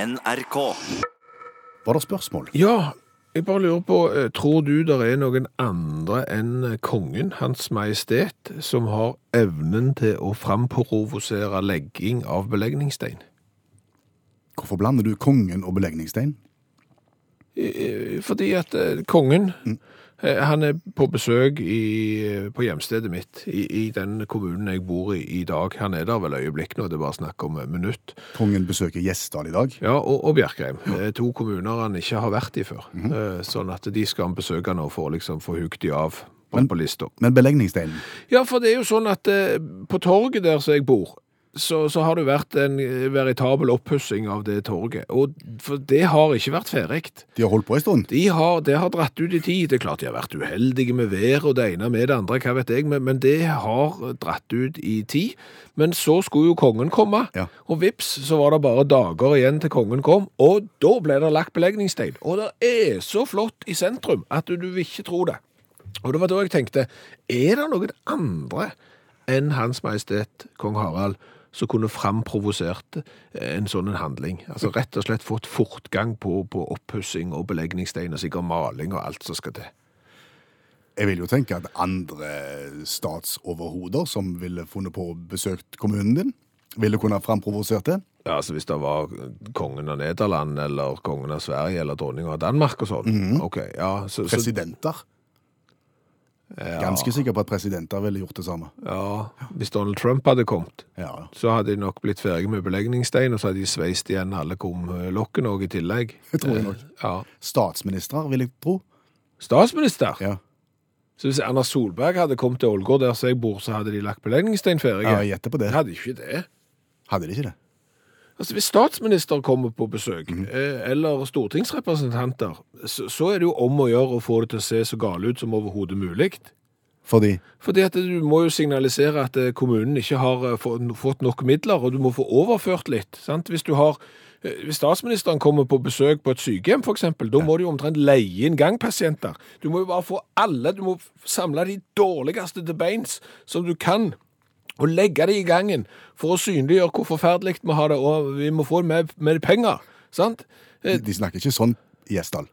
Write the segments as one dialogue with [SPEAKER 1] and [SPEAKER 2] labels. [SPEAKER 1] NRK.
[SPEAKER 2] Var det spørsmål?
[SPEAKER 3] Ja, jeg bare lurer på, eh, tror du det er noen andre enn eh, kongen, Hans Majestet, som har evnen til å framprovosere legging av belegningsstein?
[SPEAKER 2] Hvorfor blander du kongen og belegningsstein?
[SPEAKER 3] Eh, Fordi at eh, kongen, eh, han er på besøk i, eh, på hjemstedet mitt, i, i den kommunen jeg bor i i dag. Han er der vel øyeblikk nå, det er bare snakk om eh, minutt.
[SPEAKER 2] Kongen besøker Gjesdal i dag.
[SPEAKER 3] Ja, og, og Bjerkreim. Eh, To kommuner han ikke har vært i før. Eh, Sånn at de skal han besøke nå for å liksom få hukt de av på,
[SPEAKER 2] Men-
[SPEAKER 3] på lista.
[SPEAKER 2] Men belegningssteinen,
[SPEAKER 3] Ja, for det er jo sånn at eh, på torget der som jeg bor, så, så har det vært en eh, veritabel oppussing av det torget. Og for det har ikke vært ferdig.
[SPEAKER 2] de har holdt på en stund.
[SPEAKER 3] De har, det har dratt ut i tid. Det er klart de har vært uheldige med været og det ene med det andre, hva vet jeg, men, men det har dratt ut i tid. Men så skulle jo kongen komme,
[SPEAKER 2] Ja.
[SPEAKER 3] og vips, så var det bare dager igjen til kongen kom, og da ble det lagt belegningsstein. Og det er så flott i sentrum at du, du vil ikke tro det. Og det var da jeg tenkte, er det noen andre enn Hans Majestet Kong Harald som kunne framprovosert en sånn en handling? Altså rett og slett fått fortgang på, på opppussing og belegningsstein og sikkert maling og alt som skal til.
[SPEAKER 2] Jeg vil jo tenke at andre statsoverhoder som ville funnet på å besøkt kommunen din, ville kunne ha framprovosert det.
[SPEAKER 3] Ja, altså Hvis det var kongen av Nederland eller kongen av Sverige eller dronninga av Danmark og sånn. Ok, ja, så, så,
[SPEAKER 2] Presidenter. Ganske sikker på at presidenter ville gjort det samme.
[SPEAKER 3] ja, Hvis Donald Trump hadde kommet,
[SPEAKER 2] Ja,
[SPEAKER 3] så hadde de nok blitt ferdig med belegningsstein, og så hadde de sveist igjen alle kumlokkene òg i tillegg. Eh,
[SPEAKER 2] det tror jeg nok.
[SPEAKER 3] Ja.
[SPEAKER 2] Statsminister, vil jeg tro.
[SPEAKER 3] Statsminister?
[SPEAKER 2] Ja,
[SPEAKER 3] Så hvis Erna Solberg hadde kommet til Ålgård der som jeg bor, så hadde de lagt belegningsstein ferdig?
[SPEAKER 2] ja jeg gjetter på det.
[SPEAKER 3] Jeg hadde ikke det.
[SPEAKER 2] Hadde de ikke det?
[SPEAKER 3] Altså, Hvis statsminister kommer på besøk,
[SPEAKER 2] Mhm.
[SPEAKER 3] eh, eller stortingsrepresentanter, så, så er det jo om å gjøre å få det til å se så gale ut som overhodet mulig.
[SPEAKER 2] Fordi
[SPEAKER 3] Fordi at du må jo signalisere at eh, kommunen ikke har eh, få- fått nok midler, og du må få overført litt. sant? Hvis du har... eh, Hvis statsministeren kommer på besøk på et sykehjem, for eksempel, da må du jo omtrent leie inn gangpasienter. Du må jo bare få alle, du må f- samle de dårligste til beins som du kan, og legge det i gangen for å synliggjøre hvor forferdelig vi har det, og vi må få det med, med penger, sant? Eh,
[SPEAKER 2] de, de snakker ikke sånn i Gjesdal.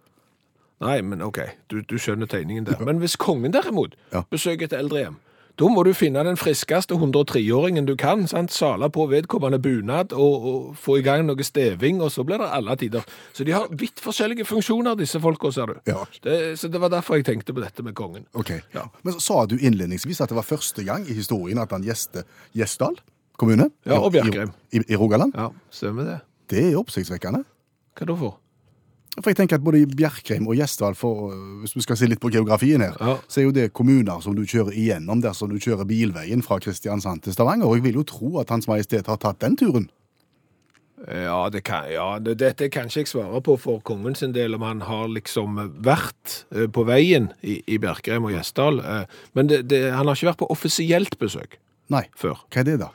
[SPEAKER 3] Nei, men ok, du, du skjønner tegningen der. Men hvis kongen derimot
[SPEAKER 2] Ja.
[SPEAKER 3] besøker et eldrehjem, da må du finne den friskeste 103-åringen du kan, sant? sale på vedkommende bunad og, og få i gang noe steving, og så blir det alle tider. Så de har vidt forskjellige funksjoner, disse folka, ser du.
[SPEAKER 2] Ja.
[SPEAKER 3] Det, så det var derfor jeg tenkte på dette med kongen.
[SPEAKER 2] Ok.
[SPEAKER 3] Ja.
[SPEAKER 2] Men så sa du innledningsvis at det var første gang i historien at han gjeste Gjesdal kommune?
[SPEAKER 3] Ja, og
[SPEAKER 2] I-
[SPEAKER 3] Bjerkreim.
[SPEAKER 2] I, i Rogaland?
[SPEAKER 3] Ja, stemmer det.
[SPEAKER 2] Det er oppsiktsvekkende.
[SPEAKER 3] Hva da for?
[SPEAKER 2] For jeg tenker at både i Bjerkreim og Gjesdal, for, øh, hvis du skal se litt på geografien her,
[SPEAKER 3] Ja.
[SPEAKER 2] så er jo det kommuner som du kjører igjennom dersom du kjører bilveien fra Kristiansand til Stavanger. Og jeg vil jo tro at Hans Majestet har tatt den turen.
[SPEAKER 3] Eh, Ja, det kan, ja det, dette kan ikke jeg svare på for kongen sin del, om han har liksom vært eh, på veien i, i Bjerkreim og Gjesdal. eh, Men det, det, han har ikke vært på offisielt besøk
[SPEAKER 2] Nei.
[SPEAKER 3] før.
[SPEAKER 2] Hva er det, da?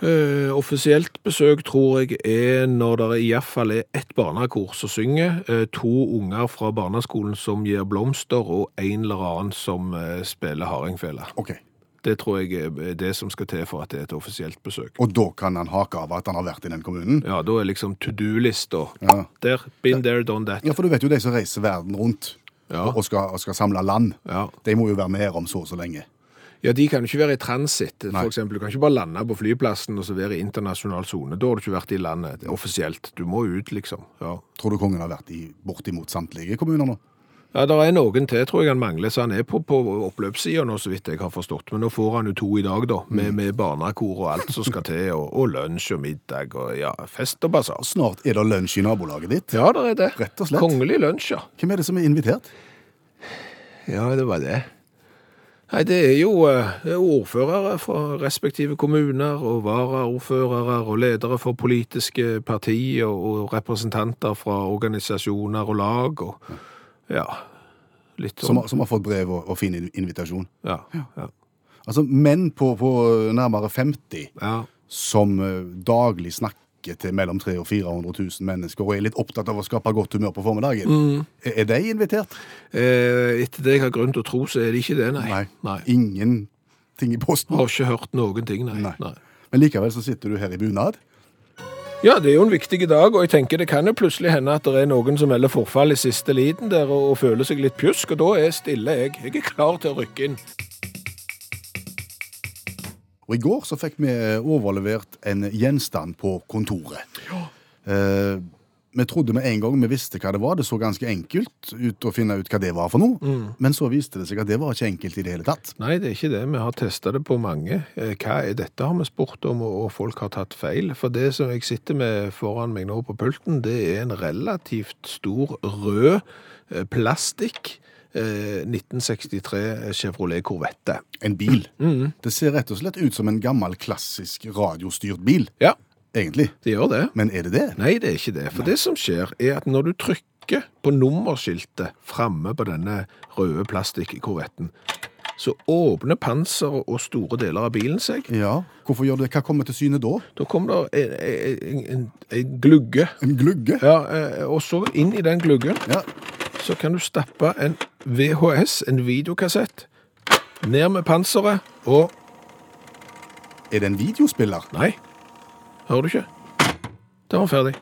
[SPEAKER 3] Eh, offisielt besøk tror jeg er når det iallfall er ett barnekor som synger, eh, to unger fra barneskolen som gir blomster, og en eller annen som eh, spiller hardingfele.
[SPEAKER 2] Ok.
[SPEAKER 3] Det tror jeg er det som skal til for at det er et offisielt besøk.
[SPEAKER 2] Og da kan han hake av at han har vært i den kommunen?
[SPEAKER 3] Ja, da er liksom to do-lista
[SPEAKER 2] Ja.
[SPEAKER 3] der. Been there, done that.
[SPEAKER 2] Ja, for du vet jo de som reiser verden rundt
[SPEAKER 3] Ja.
[SPEAKER 2] og, skal, og skal samle land.
[SPEAKER 3] Ja.
[SPEAKER 2] De må jo være med her om så og så lenge.
[SPEAKER 3] Ja, de kan jo ikke være i transit,
[SPEAKER 2] Nei.
[SPEAKER 3] for eksempel. Du kan ikke bare lande på flyplassen og så være i internasjonal zone. Da har du ikke vært i landet offisielt. Du må ut, liksom. Ja.
[SPEAKER 2] Tror du kongen har vært i bortimot samtlige kommuner nå?
[SPEAKER 3] Ja, der er noen til, tror jeg han mangler, så han er på, på oppløpssida nå, så vidt jeg har forstått. Men nå får han jo to i dag, da, med, med barnekor og alt som skal til, og, og lunsj og middag og ja, fest og basar.
[SPEAKER 2] Snart er det lunsj i nabolaget ditt.
[SPEAKER 3] Ja, der er det.
[SPEAKER 2] Rett og slett.
[SPEAKER 3] Kongelig lunsj, ja.
[SPEAKER 2] Hvem er det som er invitert?
[SPEAKER 3] Ja, det var det. Nei, det er jo eh, det er ordførere fra respektive kommuner, og varaordførere og ledere for politiske partier, og representanter fra organisasjoner og lag, og ja, litt
[SPEAKER 2] Som,
[SPEAKER 3] sånn.
[SPEAKER 2] har- som har fått brev og, og fin in- invitasjon.
[SPEAKER 3] Ja, ja,
[SPEAKER 2] Altså menn på, på nærmere 50
[SPEAKER 3] ja.
[SPEAKER 2] som eh, daglig snakker til mellom 300 000 og 400 000 mennesker og er litt opptatt av å skape godt humør på formiddagen.
[SPEAKER 3] Mm.
[SPEAKER 2] Er- Er de invitert?
[SPEAKER 3] Eh, etter det jeg har grunn til å tro, så er det ikke det, nei. nei.
[SPEAKER 2] Ingenting i posten.
[SPEAKER 3] Har ikke hørt noen ting, nei.
[SPEAKER 2] Nei. Men likevel så sitter du her i bunad.
[SPEAKER 3] Ja, det er jo en viktig dag, og jeg tenker det kan jo plutselig hende at det er noen som melder forfall i siste liten der og, og føler seg litt pjusk, og da er stille jeg. Jeg er klar til å rykke inn.
[SPEAKER 2] Og i går så fikk vi overlevert en gjenstand på kontoret. Eh, vi trodde med en gang vi visste hva det var. Det så ganske enkelt ut å finne ut hva det var for noe. Men så viste det seg at det var ikke enkelt i det hele tatt.
[SPEAKER 3] Nei, det er ikke det. Vi har testa det på mange. Eh, Hva er dette, har vi spurt om, og og folk har tatt feil. For det som jeg sitter med foran meg nå på pulten, det er en relativt stor rød eh, plastikk eh, 1963 Chevrolet Corvette.
[SPEAKER 2] En bil. Det ser rett og slett ut som en gammel, klassisk radiostyrt bil,
[SPEAKER 3] Ja,
[SPEAKER 2] egentlig.
[SPEAKER 3] det gjør det.
[SPEAKER 2] Men er det det?
[SPEAKER 3] Nei, det er ikke det. For det som skjer, er at når du trykker på nummerskiltet framme på denne røde plastikkorvetten, så åpner panseret og store deler av bilen seg.
[SPEAKER 2] Ja. Hvorfor gjør det? Hva kommer til syne da?
[SPEAKER 3] Da kommer det en, en, en, en glugge.
[SPEAKER 2] En glugge?
[SPEAKER 3] Ja, eh, og så inn i den gluggen
[SPEAKER 2] Ja.
[SPEAKER 3] så kan du stappe en VHS, en videokassett, ned med panseret og
[SPEAKER 2] Er det en videospiller?
[SPEAKER 3] Nei, hører du ikke? Da var den ferdig.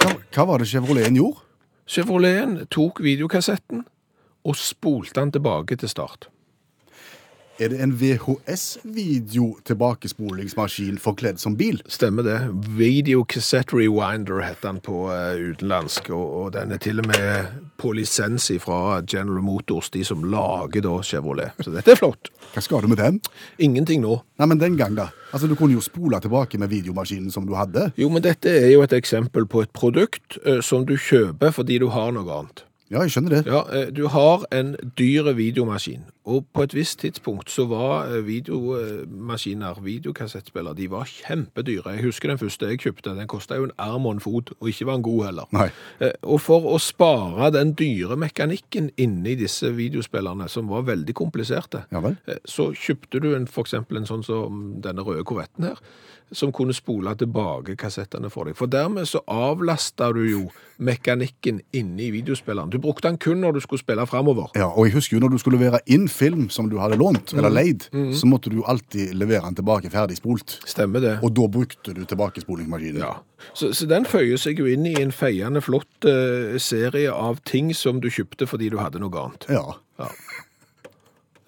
[SPEAKER 2] Hva, hva var det Chevroleten gjorde?
[SPEAKER 3] Chevroleten tok videokassetten og spolte den tilbake til start.
[SPEAKER 2] Er det en VHS-video-tilbakespolingsmaskin forkledd som bil?
[SPEAKER 3] Stemmer det. Video Cassette Rewinder heter den på eh, utenlandsk, og, og den er til og med på lisens fra General Motors, de som lager da Chevrolet. Så dette er flott.
[SPEAKER 2] Hva skal du med den?
[SPEAKER 3] Ingenting nå.
[SPEAKER 2] Nei, men den gang da. Altså, Du kunne jo spole tilbake med videomaskinen som du hadde.
[SPEAKER 3] Jo, men dette er jo et eksempel på et produkt eh, som du kjøper fordi du har noe annet.
[SPEAKER 2] Ja, jeg skjønner det.
[SPEAKER 3] Ja, eh, du har en dyre videomaskin, og på et visst tidspunkt så var eh, videomaskiner, videokassettspillere, de var kjempedyre. Jeg husker den første jeg kjøpte, den kostet jo en arm og en fot, og ikke var den god heller.
[SPEAKER 2] Nei.
[SPEAKER 3] Eh, Og for å spare den dyre mekanikken inni disse videospillerne, som var veldig kompliserte,
[SPEAKER 2] Ja vel?
[SPEAKER 3] eh, så kjøpte du en, for eksempel en sånn som denne røde korvetten her, som kunne spole tilbake kassettene for deg. For dermed så avlasta du jo mekanikken inni videospilleren. Du brukte den kun når du skulle spille framover.
[SPEAKER 2] Ja, og jeg husker jo når du skulle levere inn film som du hadde lånt
[SPEAKER 3] Mm.
[SPEAKER 2] eller leid, så måtte du jo alltid levere den tilbake ferdig spolt.
[SPEAKER 3] Stemmer det?
[SPEAKER 2] Og da brukte du tilbakespolingsmaskinen.
[SPEAKER 3] Ja. Så, så den føyer seg jo inn i en feiende flott eh, serie av ting som du kjøpte fordi du hadde noe annet.
[SPEAKER 2] Ja.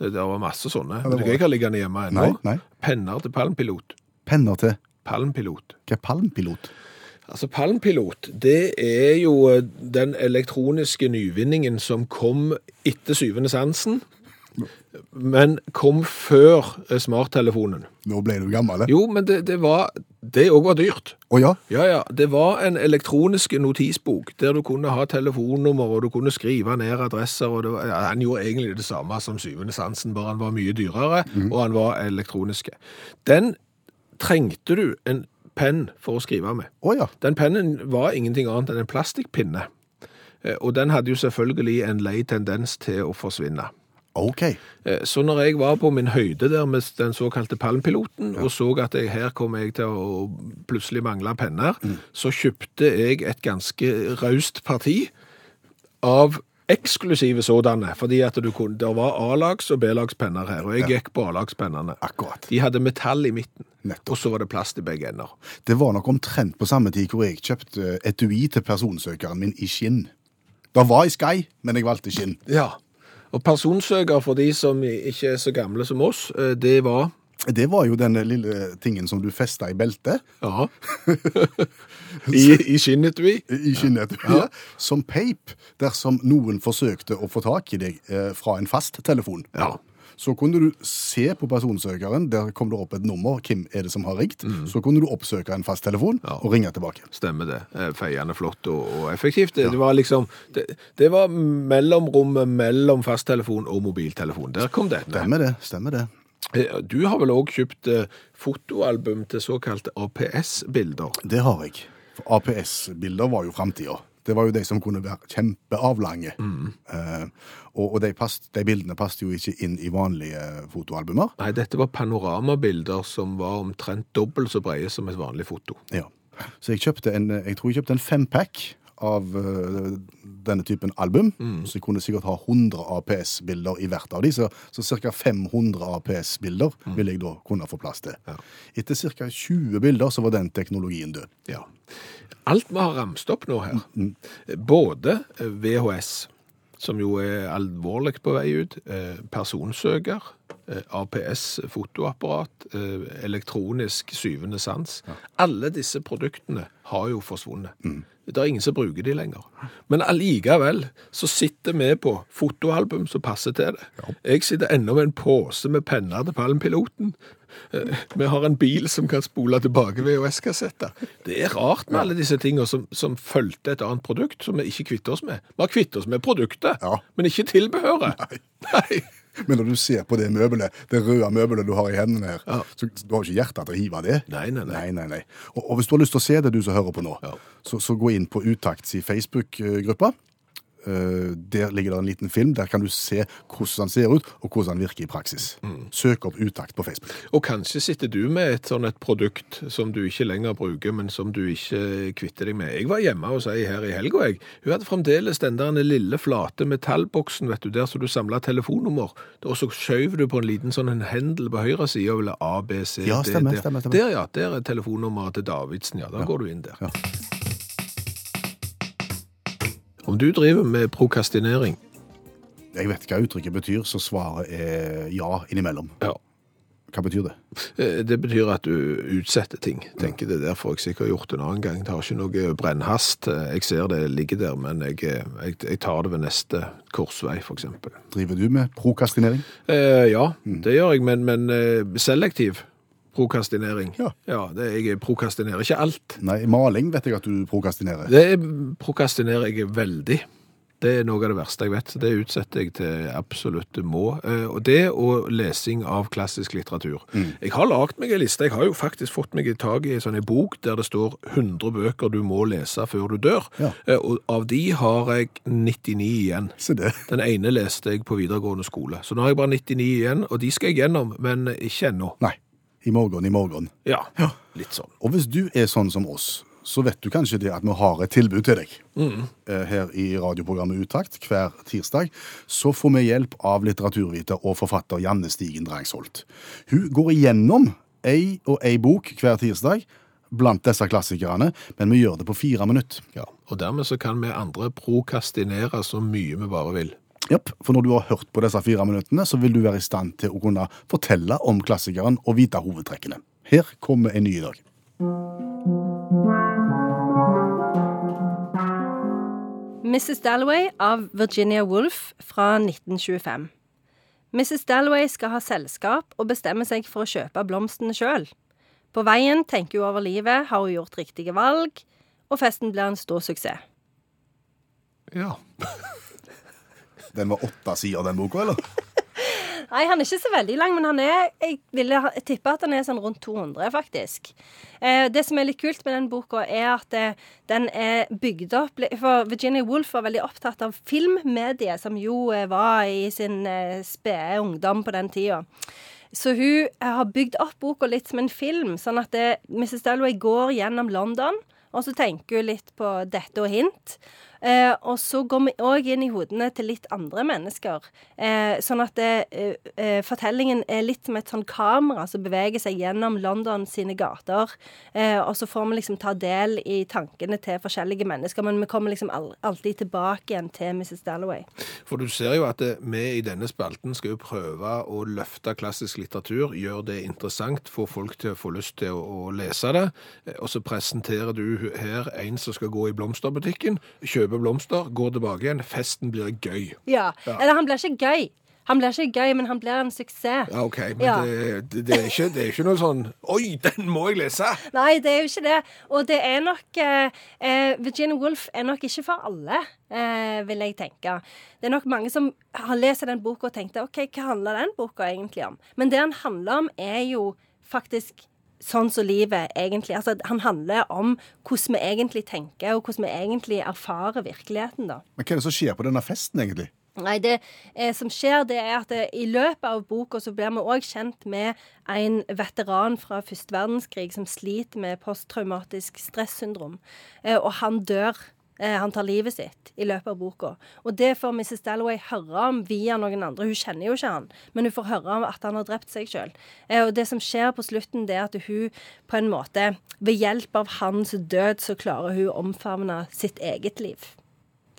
[SPEAKER 3] Det der var masse sånne.
[SPEAKER 2] det
[SPEAKER 3] Vet du
[SPEAKER 2] var-
[SPEAKER 3] hva jeg har liggende hjemme ennå?
[SPEAKER 2] Nei, nei.
[SPEAKER 3] Penner til palmpilot.
[SPEAKER 2] Penner til
[SPEAKER 3] Palmpilot.
[SPEAKER 2] hva palmpilot?
[SPEAKER 3] Altså, palmpilot, det er jo eh, den elektroniske nyvinningen som kom etter syvende sansen, men kom før eh, smarttelefonen.
[SPEAKER 2] Nå ble du gammel, eh?
[SPEAKER 3] Jo, men det, det var Det òg var dyrt.
[SPEAKER 2] Å ja?
[SPEAKER 3] Ja, ja. Det var en elektronisk notisbok der du kunne ha telefonnummer, og du kunne skrive ned adresser, og det var, ja, han gjorde egentlig det samme som syvende sansen, bare han var mye dyrere, og han var elektroniske. Den trengte du en penn for å skrive med.
[SPEAKER 2] Å ja.
[SPEAKER 3] Den pennen var ingenting annet enn en plastikkpinne, Eh, og den hadde jo selvfølgelig en lei tendens til å forsvinne.
[SPEAKER 2] OK.
[SPEAKER 3] Eh, Så når jeg var på min høyde der med den såkalte palmpiloten, og så at jeg, her kom jeg til å plutselig mangle penner,
[SPEAKER 2] Mm.
[SPEAKER 3] så kjøpte jeg et ganske raust parti av eksklusive sådanne, fordi at du kunne, der var A-lags og B-lags penner her, og jeg gikk på A-lagspennene.
[SPEAKER 2] Akkurat.
[SPEAKER 3] De hadde metall i midten,
[SPEAKER 2] Nettopp.
[SPEAKER 3] og så var det plast i begge ender.
[SPEAKER 2] Det var nok omtrent på samme tid hvor jeg kjøpte etui til personsøkeren min i skinn. Det var i Sky, men jeg valgte skinn.
[SPEAKER 3] Ja, og personsøker for de som ikke er så gamle som oss, eh, det var...
[SPEAKER 2] Det var jo den lille tingen som du festa i beltet,
[SPEAKER 3] Ja. I, i skinnet vi.
[SPEAKER 2] i skinnet, som peip, dersom noen forsøkte å få tak i deg eh, fra en fasttelefon.
[SPEAKER 3] Ja.
[SPEAKER 2] Så kunne du se på personsøkeren, der kom det opp et nummer, hvem er det som har ringt, så kunne du oppsøke en fasttelefon og ringe tilbake.
[SPEAKER 3] Stemmer det. Eh, Feiende flott og, og effektivt. Det, det var liksom det, det var mellomrommet mellom fasttelefon og mobiltelefon. Der kom det.
[SPEAKER 2] Stemmer det, stemmer det.
[SPEAKER 3] Eh, Du har vel òg kjøpt eh, fotoalbum til såkalte APS-bilder?
[SPEAKER 2] Det har jeg. For APS-bilder var jo framtida. Det var jo de som kunne være kjempeavlange. Eh, og og de, passt- de bildene passet jo ikke inn i vanlige eh, fotoalbumer.
[SPEAKER 3] Nei, dette var panoramabilder som var omtrent dobbelt så brede som et vanlig foto.
[SPEAKER 2] eh, Ja. Så jeg kjøpte en, jeg tror jeg kjøpte en fempack av eh, denne typen album. Så jeg kunne sikkert ha 100 APS-bilder i hvert av de, så, så ca. 500 APS-bilder ville jeg da kunne få plass til. Etter ca. 20 bilder så var den teknologien død.
[SPEAKER 3] Ja. Alt vi har ramst opp nå her, både eh, VHS, som jo er alvorlig på vei ut, eh, personsøker, eh, APS fotoapparat, eh, elektronisk syvende sans. Alle disse produktene har jo forsvunnet. Det er ingen som bruker de lenger. Men allikevel så sitter vi på fotoalbum som passer til det. Jeg sitter ennå med en pose med penner til Palmpiloten. Eh, Vi har en bil som kan spole tilbake VHS-kassetter. Det er rart med alle disse tingene som, som fulgte et annet produkt, som vi ikke kvitter oss med. Vi har kvittet oss med produktet,
[SPEAKER 2] Ja.
[SPEAKER 3] men ikke tilbehøret. Nei.
[SPEAKER 2] Men når du ser på det møbelet, det røde møbelet du har i hendene her,
[SPEAKER 3] Ja.
[SPEAKER 2] så du har ikke hjerte til å hive av det.
[SPEAKER 3] Nei, nei, nei.
[SPEAKER 2] Nei, nei, nei. Og, og hvis du har lyst til å se det, du som hører på nå,
[SPEAKER 3] Ja.
[SPEAKER 2] så, så gå inn på Utakts i Facebook-gruppa. Eh, Der ligger det en liten film. Der kan du se hvordan han ser ut, og hvordan han virker i praksis.
[SPEAKER 3] Mm.
[SPEAKER 2] Søk opp Utakt på Facebook.
[SPEAKER 3] Og kanskje sitter du med et sånn et produkt som du ikke lenger bruker, men som du ikke kvitter deg med. Jeg var hjemme hos ei her i helga, jeg. Hun hadde fremdeles den der lille flate metallboksen, vet du, der som du samla telefonnummer. Og så skjøv du på en liten sånn en hendel på høyre side og ville A, B, C,
[SPEAKER 2] Ja,
[SPEAKER 3] D,
[SPEAKER 2] stemmer,
[SPEAKER 3] D.
[SPEAKER 2] stemmer, stemmer.
[SPEAKER 3] Der, ja. Der er telefonnummeret til Davidsen, ja. Da går du inn der.
[SPEAKER 2] Ja.
[SPEAKER 3] Om du driver med prokastinering,
[SPEAKER 2] Jeg vet hva uttrykket betyr, så svaret er ja innimellom.
[SPEAKER 3] ja.
[SPEAKER 2] Hva betyr det?
[SPEAKER 3] Eh, Det betyr at du utsetter ting. Tenker det der får jeg sikkert gjort en annen gang. Tar ikke noe brennhast. Eh, Jeg ser det ligger der, men jeg, eh, jeg, jeg tar det ved neste korsvei, f.eks.
[SPEAKER 2] Driver du med prokastinering?
[SPEAKER 3] Eh, ja, det gjør jeg, men, men eh, selektiv prokastinering.
[SPEAKER 2] Ja.
[SPEAKER 3] det, jeg prokastinerer ikke alt.
[SPEAKER 2] Nei, maling vet jeg at du prokastinerer.
[SPEAKER 3] Det er- prokastinerer jeg veldig. Det er noe av det verste jeg vet. så Det utsetter jeg til absolutt det må. Eh, Og det og lesing av klassisk litteratur. Jeg har lagd meg en liste. Jeg har jo faktisk fått meg i tak i en sånn en bok der det står 100 bøker du må lese før du dør.
[SPEAKER 2] Ja.
[SPEAKER 3] Eh, Og av de har jeg 99 igjen.
[SPEAKER 2] Se det.
[SPEAKER 3] Den ene leste jeg på videregående skole. Så nå har jeg bare 99 igjen, og de skal jeg gjennom, men ikke ennå.
[SPEAKER 2] Nei. I morgen, i morgen.
[SPEAKER 3] Ja, litt sånn.
[SPEAKER 2] Og hvis du er sånn som oss, så vet du kanskje det at vi har et tilbud til deg. Eh, Her i radioprogrammet Utakt hver tirsdag så får vi hjelp av litteraturviter og forfatter Janne Stigen Drangsholt. Hun går igjennom ei og ei bok hver tirsdag blant disse klassikerne, men vi gjør det på fire minutter.
[SPEAKER 3] Ja. Og dermed så kan vi andre prokastinere så mye vi bare vil.
[SPEAKER 2] Japp, for når du har hørt på disse fire minuttene, så vil du være i stand til å kunne fortelle om klassikeren og vite hovedtrekkene. Her kommer en ny i dag.
[SPEAKER 1] Mrs. Dalloway av Virginia Woolf fra 1925. Mrs. Dalloway skal ha selskap og bestemmer seg for å kjøpe blomstene sjøl. På veien tenker hun over livet, har hun gjort riktige valg, og festen blir en stor suksess.
[SPEAKER 3] Ja.
[SPEAKER 2] Den var åtte sider, den boka, eller?
[SPEAKER 1] Nei, han er ikke så veldig lang, men han er, jeg ville ha- tippe at han er sånn rundt 200, faktisk. Eh, det som er litt kult med den boka, er at eh, den er bygd opp li- For Virginia Woolf var veldig opptatt av filmmediet, som jo eh, var i sin eh, spede ungdom på den tida. Så hun eh, har bygd opp boka litt som en film, sånn at eh, Mrs. Dalloway går gjennom London, og så tenker hun litt på dette og hint. Eh, og så går vi òg inn i hodene til litt andre mennesker. Eh, sånn at eh, eh, fortellingen er litt som et sånn kamera som beveger seg gjennom London sine gater. Eh, og så får vi liksom ta del i tankene til forskjellige mennesker, men vi kommer liksom al alltid tilbake igjen til Mrs. Dalloway.
[SPEAKER 3] For du ser jo at eh, vi i denne spalten skal jo prøve å løfte klassisk litteratur, gjøre det interessant, få folk til å få lyst til å, å lese det. Eh, Og så presenterer du her en som skal gå i blomsterbutikken, kjøpe blomster, går tilbake igjen, festen blir gøy.
[SPEAKER 1] Ja. Eller han blir ikke gøy. Han blir ikke gøy, men han blir en suksess.
[SPEAKER 3] Ja, OK, men
[SPEAKER 1] Ja.
[SPEAKER 3] Det, det, det, er ikke, det er ikke noe sånn Oi, den må jeg lese!
[SPEAKER 1] Nei, det er jo ikke det. Og det er nok eh, eh, Virginia Woolf er nok ikke for alle, eh, vil jeg tenke. Det er nok mange som har lest den boka og tenkte OK, hva handler den boka egentlig om? Men det den handler om, er jo faktisk sånn som livet egentlig Altså, han handler om hvordan vi egentlig tenker, og hvordan vi egentlig erfarer virkeligheten, da.
[SPEAKER 2] Men hva er det som skjer på denne festen, egentlig?
[SPEAKER 1] Nei, det eh, som skjer, det er at eh, i løpet av boka så blir vi òg kjent med en veteran fra første verdenskrig som sliter med posttraumatisk stressyndrom. Eh, og han dør Eh, Han tar livet sitt i løpet av boka. Og det får Mrs. Dalloway høre om via noen andre. Hun kjenner jo ikke han, men hun får høre om at han har drept seg sjøl. Og det som skjer på slutten, det er at hun på en måte Ved hjelp av hans død så klarer hun å omfavne sitt eget liv.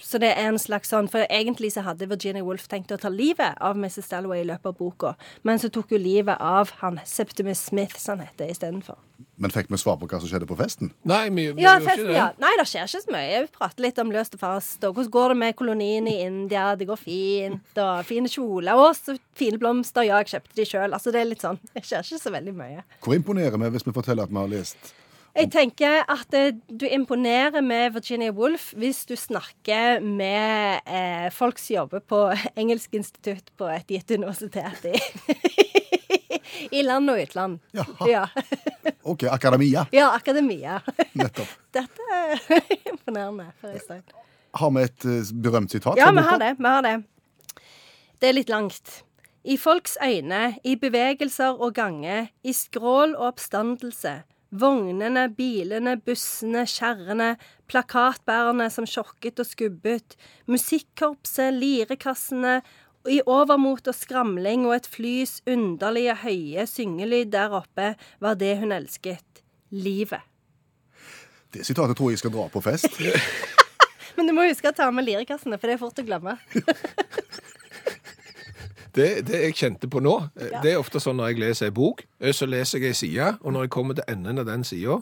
[SPEAKER 1] Så det er en slags sånn, for Egentlig så hadde Virginia Woolf tenkt å ta livet av Mrs. Dalloway i løpet av boka, men så tok hun livet av han Septimus Smith, som han heter, istedenfor.
[SPEAKER 2] Men fikk vi svar på hva som skjedde på festen?
[SPEAKER 3] Nei, vi, vi
[SPEAKER 1] Ja,
[SPEAKER 3] gjør
[SPEAKER 1] festen,
[SPEAKER 3] ikke det.
[SPEAKER 1] ja. Nei, det skjer ikke så mye. Jeg prater litt om løst og fast. Og hvordan går det med kolonien i India? Det går fint. Og fine kjoler. Og så fine blomster. Ja, jeg kjøpte de sjøl. Altså, det er litt sånn. Det skjer ikke så veldig mye.
[SPEAKER 2] Hvor imponerer vi hvis vi forteller at vi har lest?
[SPEAKER 1] Jeg tenker at eh, du imponerer med Virginia Woolf hvis du snakker med eh, folk som jobber på engelsk institutt på et gitt universitet i, i land og utland.
[SPEAKER 2] Jaha.
[SPEAKER 1] Ja.
[SPEAKER 2] OK, akademia.
[SPEAKER 1] ja, akademia.
[SPEAKER 2] Nettopp.
[SPEAKER 1] Dette er imponerende. for Øystein.
[SPEAKER 2] Har vi et eh, berømt sitat?
[SPEAKER 1] Ja,
[SPEAKER 2] fra
[SPEAKER 1] vi
[SPEAKER 2] boka?
[SPEAKER 1] har det. Vi har det. Det er litt langt. I folks øyne, i bevegelser og gange, i skrål og oppstandelse. Vognene, bilene, bussene, kjerrene, plakatbærerne som sjokket og skubbet, musikkorpset, lirekassene, i overmot og skramling og et flys underlige høye syngelyd der oppe, var det hun elsket. Livet.
[SPEAKER 2] Det sitatet tror jeg jeg skal dra på fest.
[SPEAKER 1] Men du må huske å ta med lirekassene, for det er fort å glemme.
[SPEAKER 3] Det, det jeg kjente på nå, eh, det er ofte sånn når jeg leser en bok, eh, så leser jeg en side, og når jeg kommer til enden av den sida,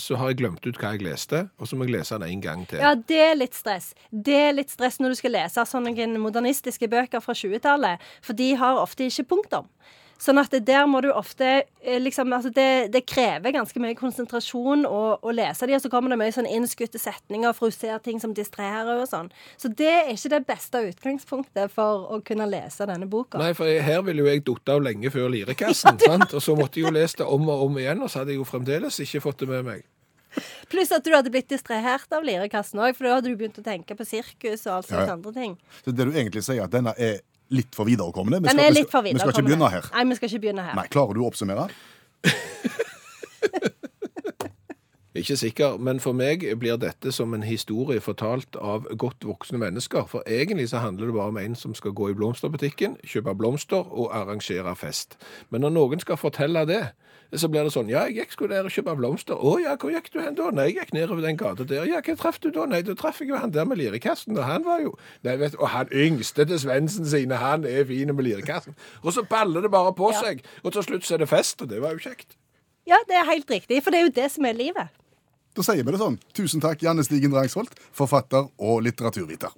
[SPEAKER 3] så har jeg glemt ut hva jeg leste, og så må jeg lese den en gang til.
[SPEAKER 1] Ja, det er litt stress. Det er litt stress når du skal lese sånne modernistiske bøker fra 20-tallet, for de har ofte ikke punktum. Sånn at det der må du ofte eh, liksom, altså det, det krever ganske mye konsentrasjon å, å lese de, og så kommer det mye sånn innskutte setninger for å se ting som distraherer og sånn. Så det er ikke det beste utgangspunktet for å kunne lese denne boka.
[SPEAKER 3] Nei, for jeg, her ville jo jeg datt av lenge før lirekassen, sant? og så måtte jeg jo lese det om og om igjen, og så hadde jeg jo fremdeles ikke fått det med meg.
[SPEAKER 1] Pluss at du hadde blitt distrahert av lirekassen òg, for da hadde du begynt å tenke på sirkus og alt
[SPEAKER 2] Ja,
[SPEAKER 1] slags
[SPEAKER 2] ja.
[SPEAKER 1] andre ting.
[SPEAKER 2] Så det du egentlig sier, er at denne er litt for viderekommende? Vi
[SPEAKER 1] Den
[SPEAKER 2] skal-
[SPEAKER 1] er
[SPEAKER 2] vi skal-
[SPEAKER 1] litt for
[SPEAKER 2] Vi skal ikke
[SPEAKER 1] viderekommende.
[SPEAKER 2] begynne her.
[SPEAKER 1] Nei, vi skal ikke begynne her.
[SPEAKER 2] Nei, Klarer du å oppsummere?
[SPEAKER 3] Ikke sikker, men for meg blir dette som en historie fortalt av godt voksne mennesker, for egentlig så handler det bare om en som skal gå i blomsterbutikken, kjøpe blomster og arrangere fest. Men når noen skal fortelle det, så blir det sånn, ja, jeg gikk skulle der og kjøpe blomster. Å ja, hvor gikk du hen da? Nei, jeg gikk nedover den gata der. Ja, hva traff du da? Nei, da traff jeg jo han der med lirekassen, og han var jo, nei, vet du, og han yngste til Svensen sine, han er fine med lirekassen. Og så baller det bare på
[SPEAKER 1] Ja.
[SPEAKER 3] seg, og til slutt så er det fest, og det var jo kjekt.
[SPEAKER 1] Ja, det er helt riktig, for det er jo det som er livet.
[SPEAKER 2] Da sier vi det sånn. Tusen takk, Janne Stigen Drangsholt, forfatter og litteraturviter.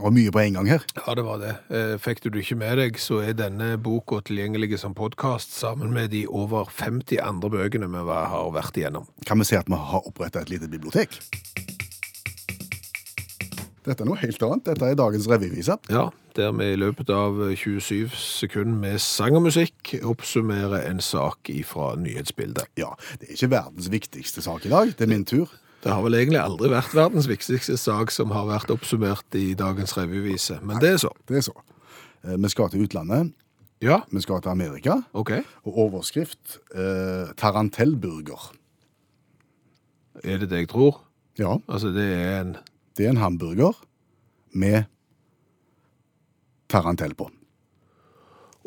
[SPEAKER 2] Det var mye på en gang her.
[SPEAKER 3] Ja, det var det. Eh, Fikk du det ikke med deg, så er denne boka tilgjengelig som podkast sammen med de over 50 andre bøkene vi var- har vært igjennom.
[SPEAKER 2] Kan vi si at vi har oppretta et lite bibliotek? Dette er noe helt annet. Dette er dagens revyvise.
[SPEAKER 3] Ja, Der vi i løpet av 27 sekunder med sang og musikk oppsummerer en sak ifra nyhetsbildet.
[SPEAKER 2] Ja, det er ikke verdens viktigste sak i dag. Det er min tur.
[SPEAKER 3] Det har vel egentlig aldri vært verdens viktigste sak som har vært oppsummert i dagens revyvise, men det er så.
[SPEAKER 2] Det er så. Eh, Vi skal til utlandet.
[SPEAKER 3] Ja,
[SPEAKER 2] Vi skal til Amerika.
[SPEAKER 3] OK.
[SPEAKER 2] Og overskrift eh, 'Tarantellburger'.
[SPEAKER 3] Er det det jeg tror?
[SPEAKER 2] Ja,
[SPEAKER 3] Altså, det er en
[SPEAKER 2] det er en hamburger med tarantell på.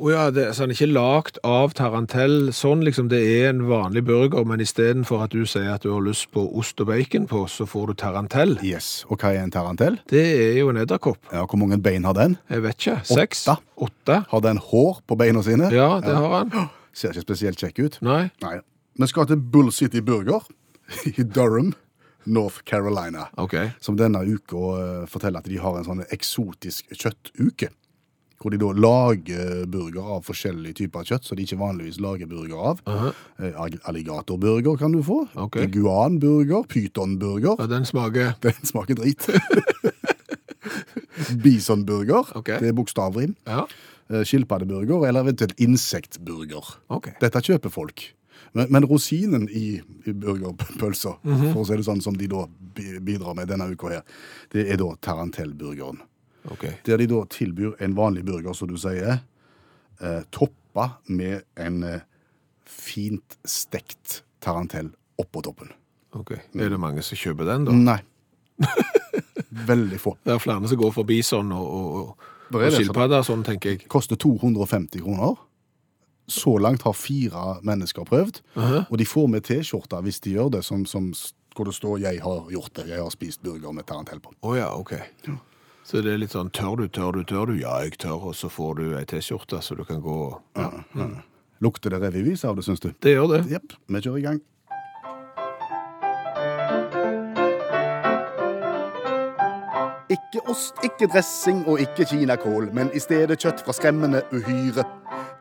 [SPEAKER 3] Å ja, det, så han er ikke lagd av tarantell sånn, liksom. Det er en vanlig burger, men istedenfor at du sier at du har lyst på ost og bacon på, så får du tarantell.
[SPEAKER 2] Yes, Og hva er en tarantell?
[SPEAKER 3] Det er jo en edderkopp.
[SPEAKER 2] Ja, Hvor mange bein har den?
[SPEAKER 3] Jeg vet ikke. Seks?
[SPEAKER 2] Åtte.
[SPEAKER 3] Åtte?
[SPEAKER 2] Har den hår på beina sine?
[SPEAKER 3] Ja, det har han.
[SPEAKER 2] Ser ikke spesielt kjekk ut.
[SPEAKER 3] Nei.
[SPEAKER 2] Nei. Vi skal til Bull City Burger i Durham, North Carolina.
[SPEAKER 3] OK.
[SPEAKER 2] Som denne uka eh, forteller at de har en sånn eksotisk kjøttuke. Hvor de da lager burger av forskjellige typer kjøtt, så de ikke vanligvis lager burger av. Eh, ag- Alligatorburger kan du få.
[SPEAKER 3] Ok.
[SPEAKER 2] Iguanburger. Pytonburger.
[SPEAKER 3] Ja, den smaker
[SPEAKER 2] Den smaker drit. Bisonburger.
[SPEAKER 3] Ok.
[SPEAKER 2] Det er bokstavrim.
[SPEAKER 3] Ja.
[SPEAKER 2] Eh, Skilpaddeburger eller eventuelt insektburger.
[SPEAKER 3] OK.
[SPEAKER 2] Dette kjøper folk. Men, men rosinen i, i burgerpølsa, for å si det sånn som de da bi- bidrar med denne uka her, det er da tarantellburgeren.
[SPEAKER 3] ok.
[SPEAKER 2] Der de da tilbyr en vanlig burger, som du sier, eh, toppa med en eh, fint stekt tarantell oppå toppen. Mm.
[SPEAKER 3] ok. Er det mange som kjøper den, da?
[SPEAKER 2] Nei, Veldig få.
[SPEAKER 3] Det er flere som går for bison og, og,
[SPEAKER 2] Der
[SPEAKER 3] og
[SPEAKER 2] er det sånn.
[SPEAKER 3] skilpadder, sånn tenker jeg.
[SPEAKER 2] Koster 250 kroner. Så langt har fire mennesker prøvd,
[SPEAKER 3] Aha.
[SPEAKER 2] og de får med T-skjorter hvis de gjør det, som, som s- hvor det står 'Jeg har gjort det, jeg har spist burger med tarantell på'.
[SPEAKER 3] Å ja, ok. Så det er litt sånn tør du, tør du, tør du? Ja, jeg tør, og så får du ei T-skjorte, så du kan gå og ja.
[SPEAKER 2] Lukter det revyvis av det, syns du?
[SPEAKER 3] Det gjør det.
[SPEAKER 2] Jepp, vi kjører i gang. Ikke ost, ikke dressing og ikke kinakål, men i stedet kjøtt fra skremmende uhyre.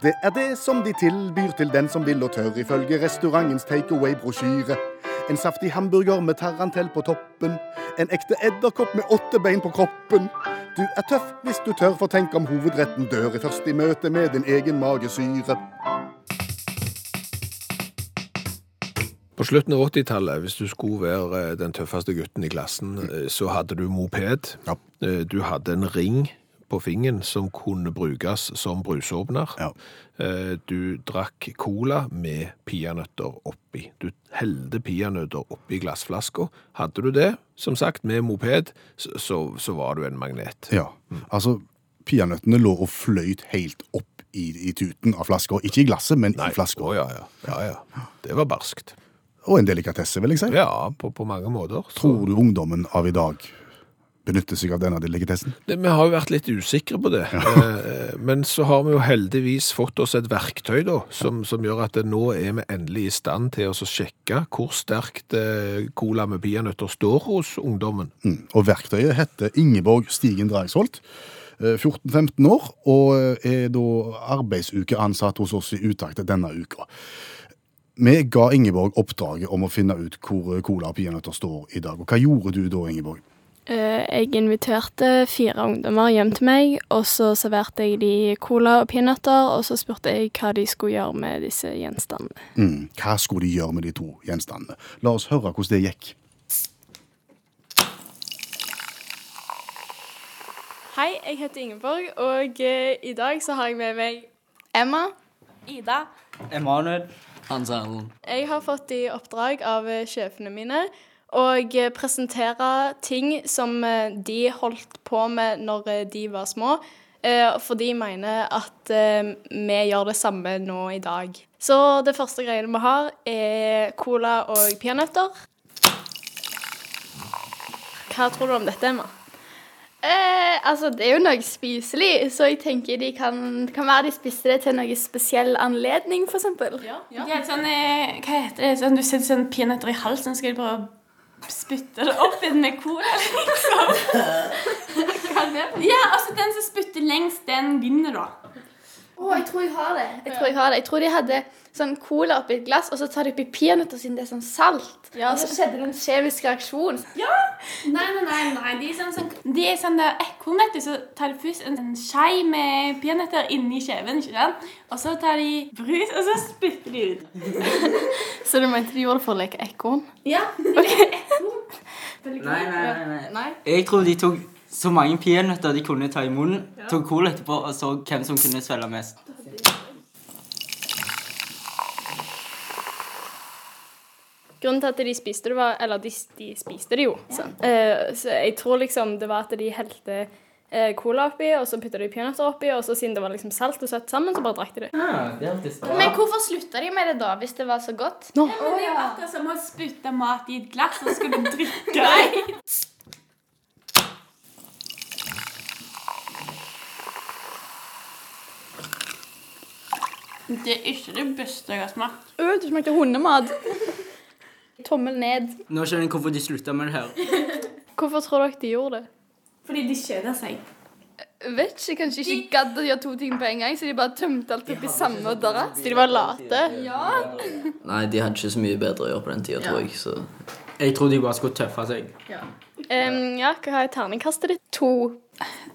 [SPEAKER 2] Det er det som de tilbyr til den som vil og tør, ifølge restaurantens takeaway-brosjyre. En saftig hamburger med tarantell på toppen. En ekte edderkopp med åtte bein på kroppen. Du er tøff hvis du tør, for tenk om hovedretten dør i først i møte med din egen magesyre.
[SPEAKER 3] På slutten av 80-tallet, hvis du skulle være eh, den tøffeste gutten i klassen, eh, så hadde du moped.
[SPEAKER 2] Ja.
[SPEAKER 3] Eh, Du hadde en ring på fingeren som kunne brukes som brusåpner.
[SPEAKER 2] Ja.
[SPEAKER 3] Eh, Du drakk cola med peanøtter oppi. Du heldte peanøtter oppi glassflaska. Hadde du det, som sagt, med moped, så, så, så var du en magnet.
[SPEAKER 2] Ja, altså peanøttene lå og fløyt helt opp i, i tuten av flasker. Ikke i glasset, men i flasker.
[SPEAKER 3] Å, ja, ja. ja, ja. Det var barskt.
[SPEAKER 2] Og en delikatesse, vil jeg si.
[SPEAKER 3] Ja, på, på mange måter. Så-
[SPEAKER 2] Tror du ungdommen av i dag benytter seg av denne delikatessen?
[SPEAKER 3] Det, vi har jo vært litt usikre på det. Eh, Men så har vi jo heldigvis fått oss et verktøy da, som, som gjør at det nå er vi endelig i stand til å så sjekke hvor sterkt eh, cola med peanøtter står hos ungdommen.
[SPEAKER 2] Mm. Og verktøyet heter Ingeborg Stigen Dragsholt. eh, 14-15 år, og eh, er da arbeidsuke ansatt hos oss i utakt denne uka. Vi ga Ingeborg oppdraget om å finne ut hvor cola og peanøtter står i dag. Og hva gjorde du da, Ingeborg?
[SPEAKER 4] Eh, Jeg inviterte fire ungdommer hjem til meg, og så serverte jeg de cola og peanøtter, og så spurte jeg hva de skulle gjøre med disse gjenstandene.
[SPEAKER 2] Mm. Hva skulle de gjøre med de to gjenstandene? La oss høre hvordan det gikk.
[SPEAKER 4] Hei, jeg heter Ingeborg, og eh, i dag så har jeg med meg Emma. Ida.
[SPEAKER 5] Emanuel. Hans Erlend.
[SPEAKER 4] Jeg har fått i oppdrag av eh, sjefene mine å eh, presentere ting som eh, de holdt på med når eh, de var små, eh, for de mener at eh, vi gjør det samme nå i dag. Så det første greiene vi har, er cola og peanøtter. Hva tror du om dette, Emma?
[SPEAKER 6] Eh, altså, det er jo noe spiselig, så jeg tenker de kan, det kan være de spiste det til noe spesiell anledning, for eksempel.
[SPEAKER 7] Ja. Helt sånn, eh, hva heter det? Sånn, du sitter sånn peanøtter i halsen, så skal du prøve å spytte det opp i den med cola, liksom. Ja, altså den som spytter lengst, den vinner, da.
[SPEAKER 6] Å, jeg tror jeg har det. Jeg tror jeg har det. Jeg tror de hadde sånn cola oppi et glass, og så tar de oppi peanøtter siden det er sånn salt. og så skjedde det en kjemisk reaksjon.
[SPEAKER 7] Nei, nei, nei. nei. De er sånn, sånn, de er sånn der ekorn, vet du, så tar de først en, en skei med peanøtter inni kjeven, ikke sant? Og så tar de brus, og så spytter de ut.
[SPEAKER 4] Så du mente de gjorde det for å leke ekorn?
[SPEAKER 7] Ja.
[SPEAKER 5] Nei, nei, nei, nei. Jeg tror de tok så mange peanøtter de kunne ta i munnen, tok cola etterpå og så hvem som kunne svelge mest.
[SPEAKER 4] Grunnen til at de spiste det, var Eller de, de spiste det jo. Så, eh, så jeg tror liksom det var at de helte eh, cola oppi, og så putta de peanøtter oppi, og så siden det var liksom salt og søtt sammen, så bare drakk de det.
[SPEAKER 5] Ah, det hørtes bra
[SPEAKER 6] Men hvorfor slutta de med det da, hvis det var så godt?
[SPEAKER 7] Men det er jo akkurat som å spytte mat i et glass, og så skal du drikke det. Det er ikke det beste jeg har smakt.
[SPEAKER 6] Øh, det smakte hundemat. Tommel ned.
[SPEAKER 5] Nå skjønner jeg hvorfor de slutta med det her.
[SPEAKER 4] Hvorfor tror dere de gjorde det?
[SPEAKER 7] Fordi de kjeder seg.
[SPEAKER 6] Vet ikke, kanskje ikke gadd å gjøre to ting på en gang, så de bare tømte alt oppi samme drass.
[SPEAKER 4] Så de var late?
[SPEAKER 8] Nei, de hadde ikke så mye bedre å gjøre på den tida, tror jeg. Så
[SPEAKER 5] Jeg tror de bare skulle tøffe seg.
[SPEAKER 4] Em, ja, hva er terningkastet ditt?
[SPEAKER 6] To.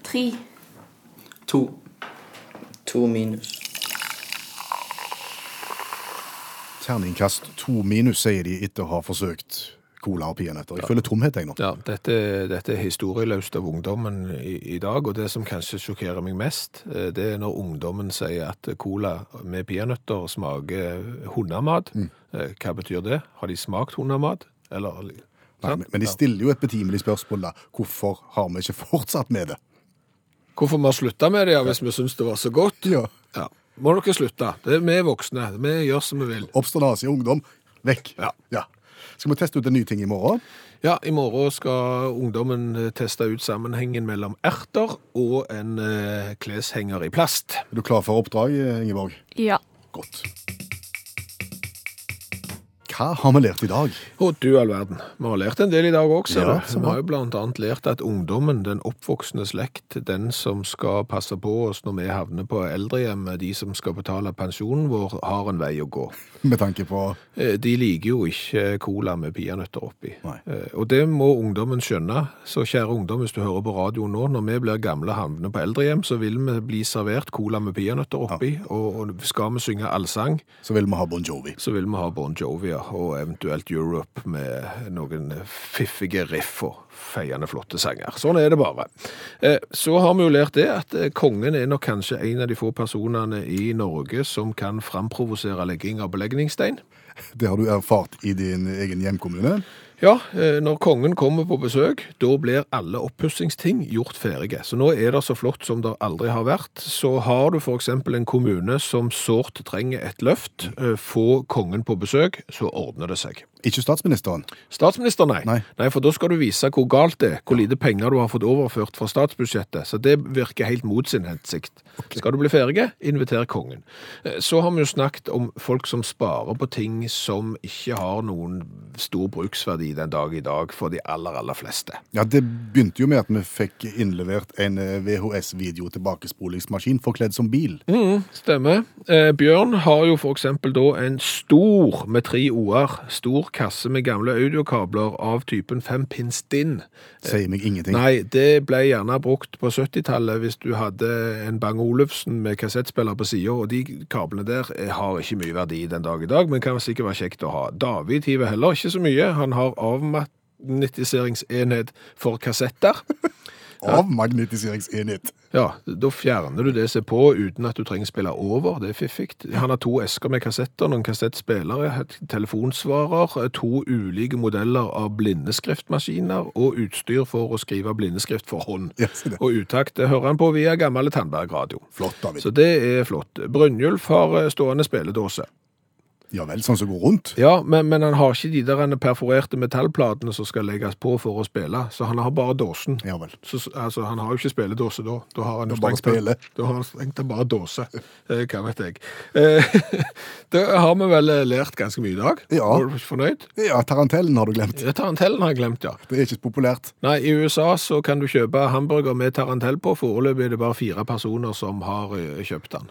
[SPEAKER 7] Tre.
[SPEAKER 5] To.
[SPEAKER 8] to minus.
[SPEAKER 2] Terningkast to minus, sier de etter å ha forsøkt cola og peanøtter. Jeg føler tomhet, jeg nå.
[SPEAKER 3] Ja, dette, dette er historieløst av ungdommen i, i dag, og det som kanskje sjokkerer meg mest, eh, det er når ungdommen sier at cola med peanøtter
[SPEAKER 2] Mm.
[SPEAKER 3] smaker hundemat. Eh, Hva betyr det? Har de smakt hundemat? Eller
[SPEAKER 2] Nei, men- men de stiller jo et betimelig spørsmål da. Hvorfor har vi ikke fortsatt med det?
[SPEAKER 3] Hvorfor vi har slutta med det ja, hvis vi syns det var så godt?
[SPEAKER 2] Ja.
[SPEAKER 3] Ja. Må dere slutte. Det er, vi er voksne. Vi gjør som vi vil.
[SPEAKER 2] Obstinase altså i ungdom, vekk.
[SPEAKER 3] Ja.
[SPEAKER 2] Skal vi teste ut en ny ting i morgen?
[SPEAKER 3] Ja, I morgen skal ungdommen eh, teste ut sammenhengen mellom erter og en eh, kleshenger i plast.
[SPEAKER 2] Er du klar for oppdrag, Ingeborg?
[SPEAKER 4] Ja.
[SPEAKER 2] Godt. Hva har vi lært i dag?
[SPEAKER 3] Å, du all verden. Vi har lært en del i dag òg, ser
[SPEAKER 2] Ja,
[SPEAKER 3] du.
[SPEAKER 2] så
[SPEAKER 3] Vi
[SPEAKER 2] bra.
[SPEAKER 3] har jo blant annet lært at ungdommen, den oppvoksende slekt, den som skal passe på oss når vi havner på eldrehjemmet, de som skal betale pensjonen vår, har en vei å gå.
[SPEAKER 2] Med tanke på
[SPEAKER 3] Eh, De liker jo ikke cola med peanøtter oppi.
[SPEAKER 2] Nei.
[SPEAKER 3] Eh, Og det må ungdommen skjønne. Så kjære ungdom, hvis du hører på radioen nå, når vi blir gamle og havner på eldrehjem, så vil vi bli servert cola med peanøtter oppi. Og, og skal vi synge allsang,
[SPEAKER 2] så vil vi ha Bon Jovi.
[SPEAKER 3] så vil vi ha Bon Jovia og eventuelt Europe med noen fiffige riff og feiende flotte sanger. Sånn er det bare. Eh, Så har vi jo lært det at eh, kongen er nok kanskje en av de få personene i Norge som kan framprovosere legging av belegningstein.
[SPEAKER 2] Det har du erfart i din egen hjemkommune.
[SPEAKER 3] Ja, eh, når kongen kommer på besøk, da blir alle oppussingsting gjort ferdige. Så nå er det så flott som det aldri har vært. Så har du f.eks. en kommune som sårt trenger et løft. eh, Få kongen på besøk, så ordner det seg.
[SPEAKER 2] Ikke statsministeren.
[SPEAKER 3] Statsminister, nei.
[SPEAKER 2] Nei.
[SPEAKER 3] for da skal du vise hvor galt det er, hvor lite penger du har fått overført fra statsbudsjettet. Så det virker helt mot sin hensikt. Skal du bli ferdig, inviter kongen. Eh, Så har vi jo snakket om folk som sparer på ting som ikke har noen stor bruksverdi den dag i dag for de aller, aller fleste.
[SPEAKER 2] Ja, Det begynte jo med at vi fikk innlevert en eh, VHS-video tilbakespolingsmaskin forkledd som bil.
[SPEAKER 3] Stemmer. Eh, Bjørn har jo for eksempel da en stor, med tre o-er, stor kasse med gamle audiokabler av typen fem pins din.
[SPEAKER 2] Sier meg ingenting.
[SPEAKER 3] Nei, det ble gjerne brukt på 70-tallet hvis du hadde en Bang Olufsen med kassettspiller på sida, og de kablene der eh, har ikke mye verdi den dag i dag, men kan sikkert være kjekt å ha. David hiver heller ikke så mye. Han har avmagnetiseringsenhet for kassetter.
[SPEAKER 2] Av magnetiseringsenhet.
[SPEAKER 3] Ja, da fjerner du det som er på uten at du trenger spille over. Det er fiffig. Han har to esker med kassetter, noen kassettspillere, et telefonsvarer, to ulike modeller av blindeskriftmaskiner og utstyr for å skrive blindeskrift for hånd.
[SPEAKER 2] Ja, se det.
[SPEAKER 3] Og utakt det hører han på via gammel Tandberg-radio.
[SPEAKER 2] Flott, David.
[SPEAKER 3] Så det er flott. Brynjulf har eh, stående spilledåse.
[SPEAKER 2] Ja vel, sånn som går rundt.
[SPEAKER 3] Ja, men, men han har ikke de der perforerte metallplatene som skal legges på for å spille, så han har bare dåsen.
[SPEAKER 2] Ja vel.
[SPEAKER 3] Så, så- altså, han har jo ikke spilledåse da. Da har han jo
[SPEAKER 2] Da bare
[SPEAKER 3] strengt tatt-
[SPEAKER 2] spille.
[SPEAKER 3] Da har han strengt tatt bare dåse. Eh, Hva vet jeg. Eh, da har vi vel eh, lært ganske mye i dag.
[SPEAKER 2] Ja.
[SPEAKER 3] Er du ikke fornøyd?
[SPEAKER 2] Ja, tarantellen har du glemt.
[SPEAKER 3] Ja, Tarantellen har jeg glemt, ja.
[SPEAKER 2] Det er ikke så populært.
[SPEAKER 3] Nei, i USA så kan du kjøpe hamburger med tarantell på. Foreløpig er det bare fire personer som har eh, kjøpt den.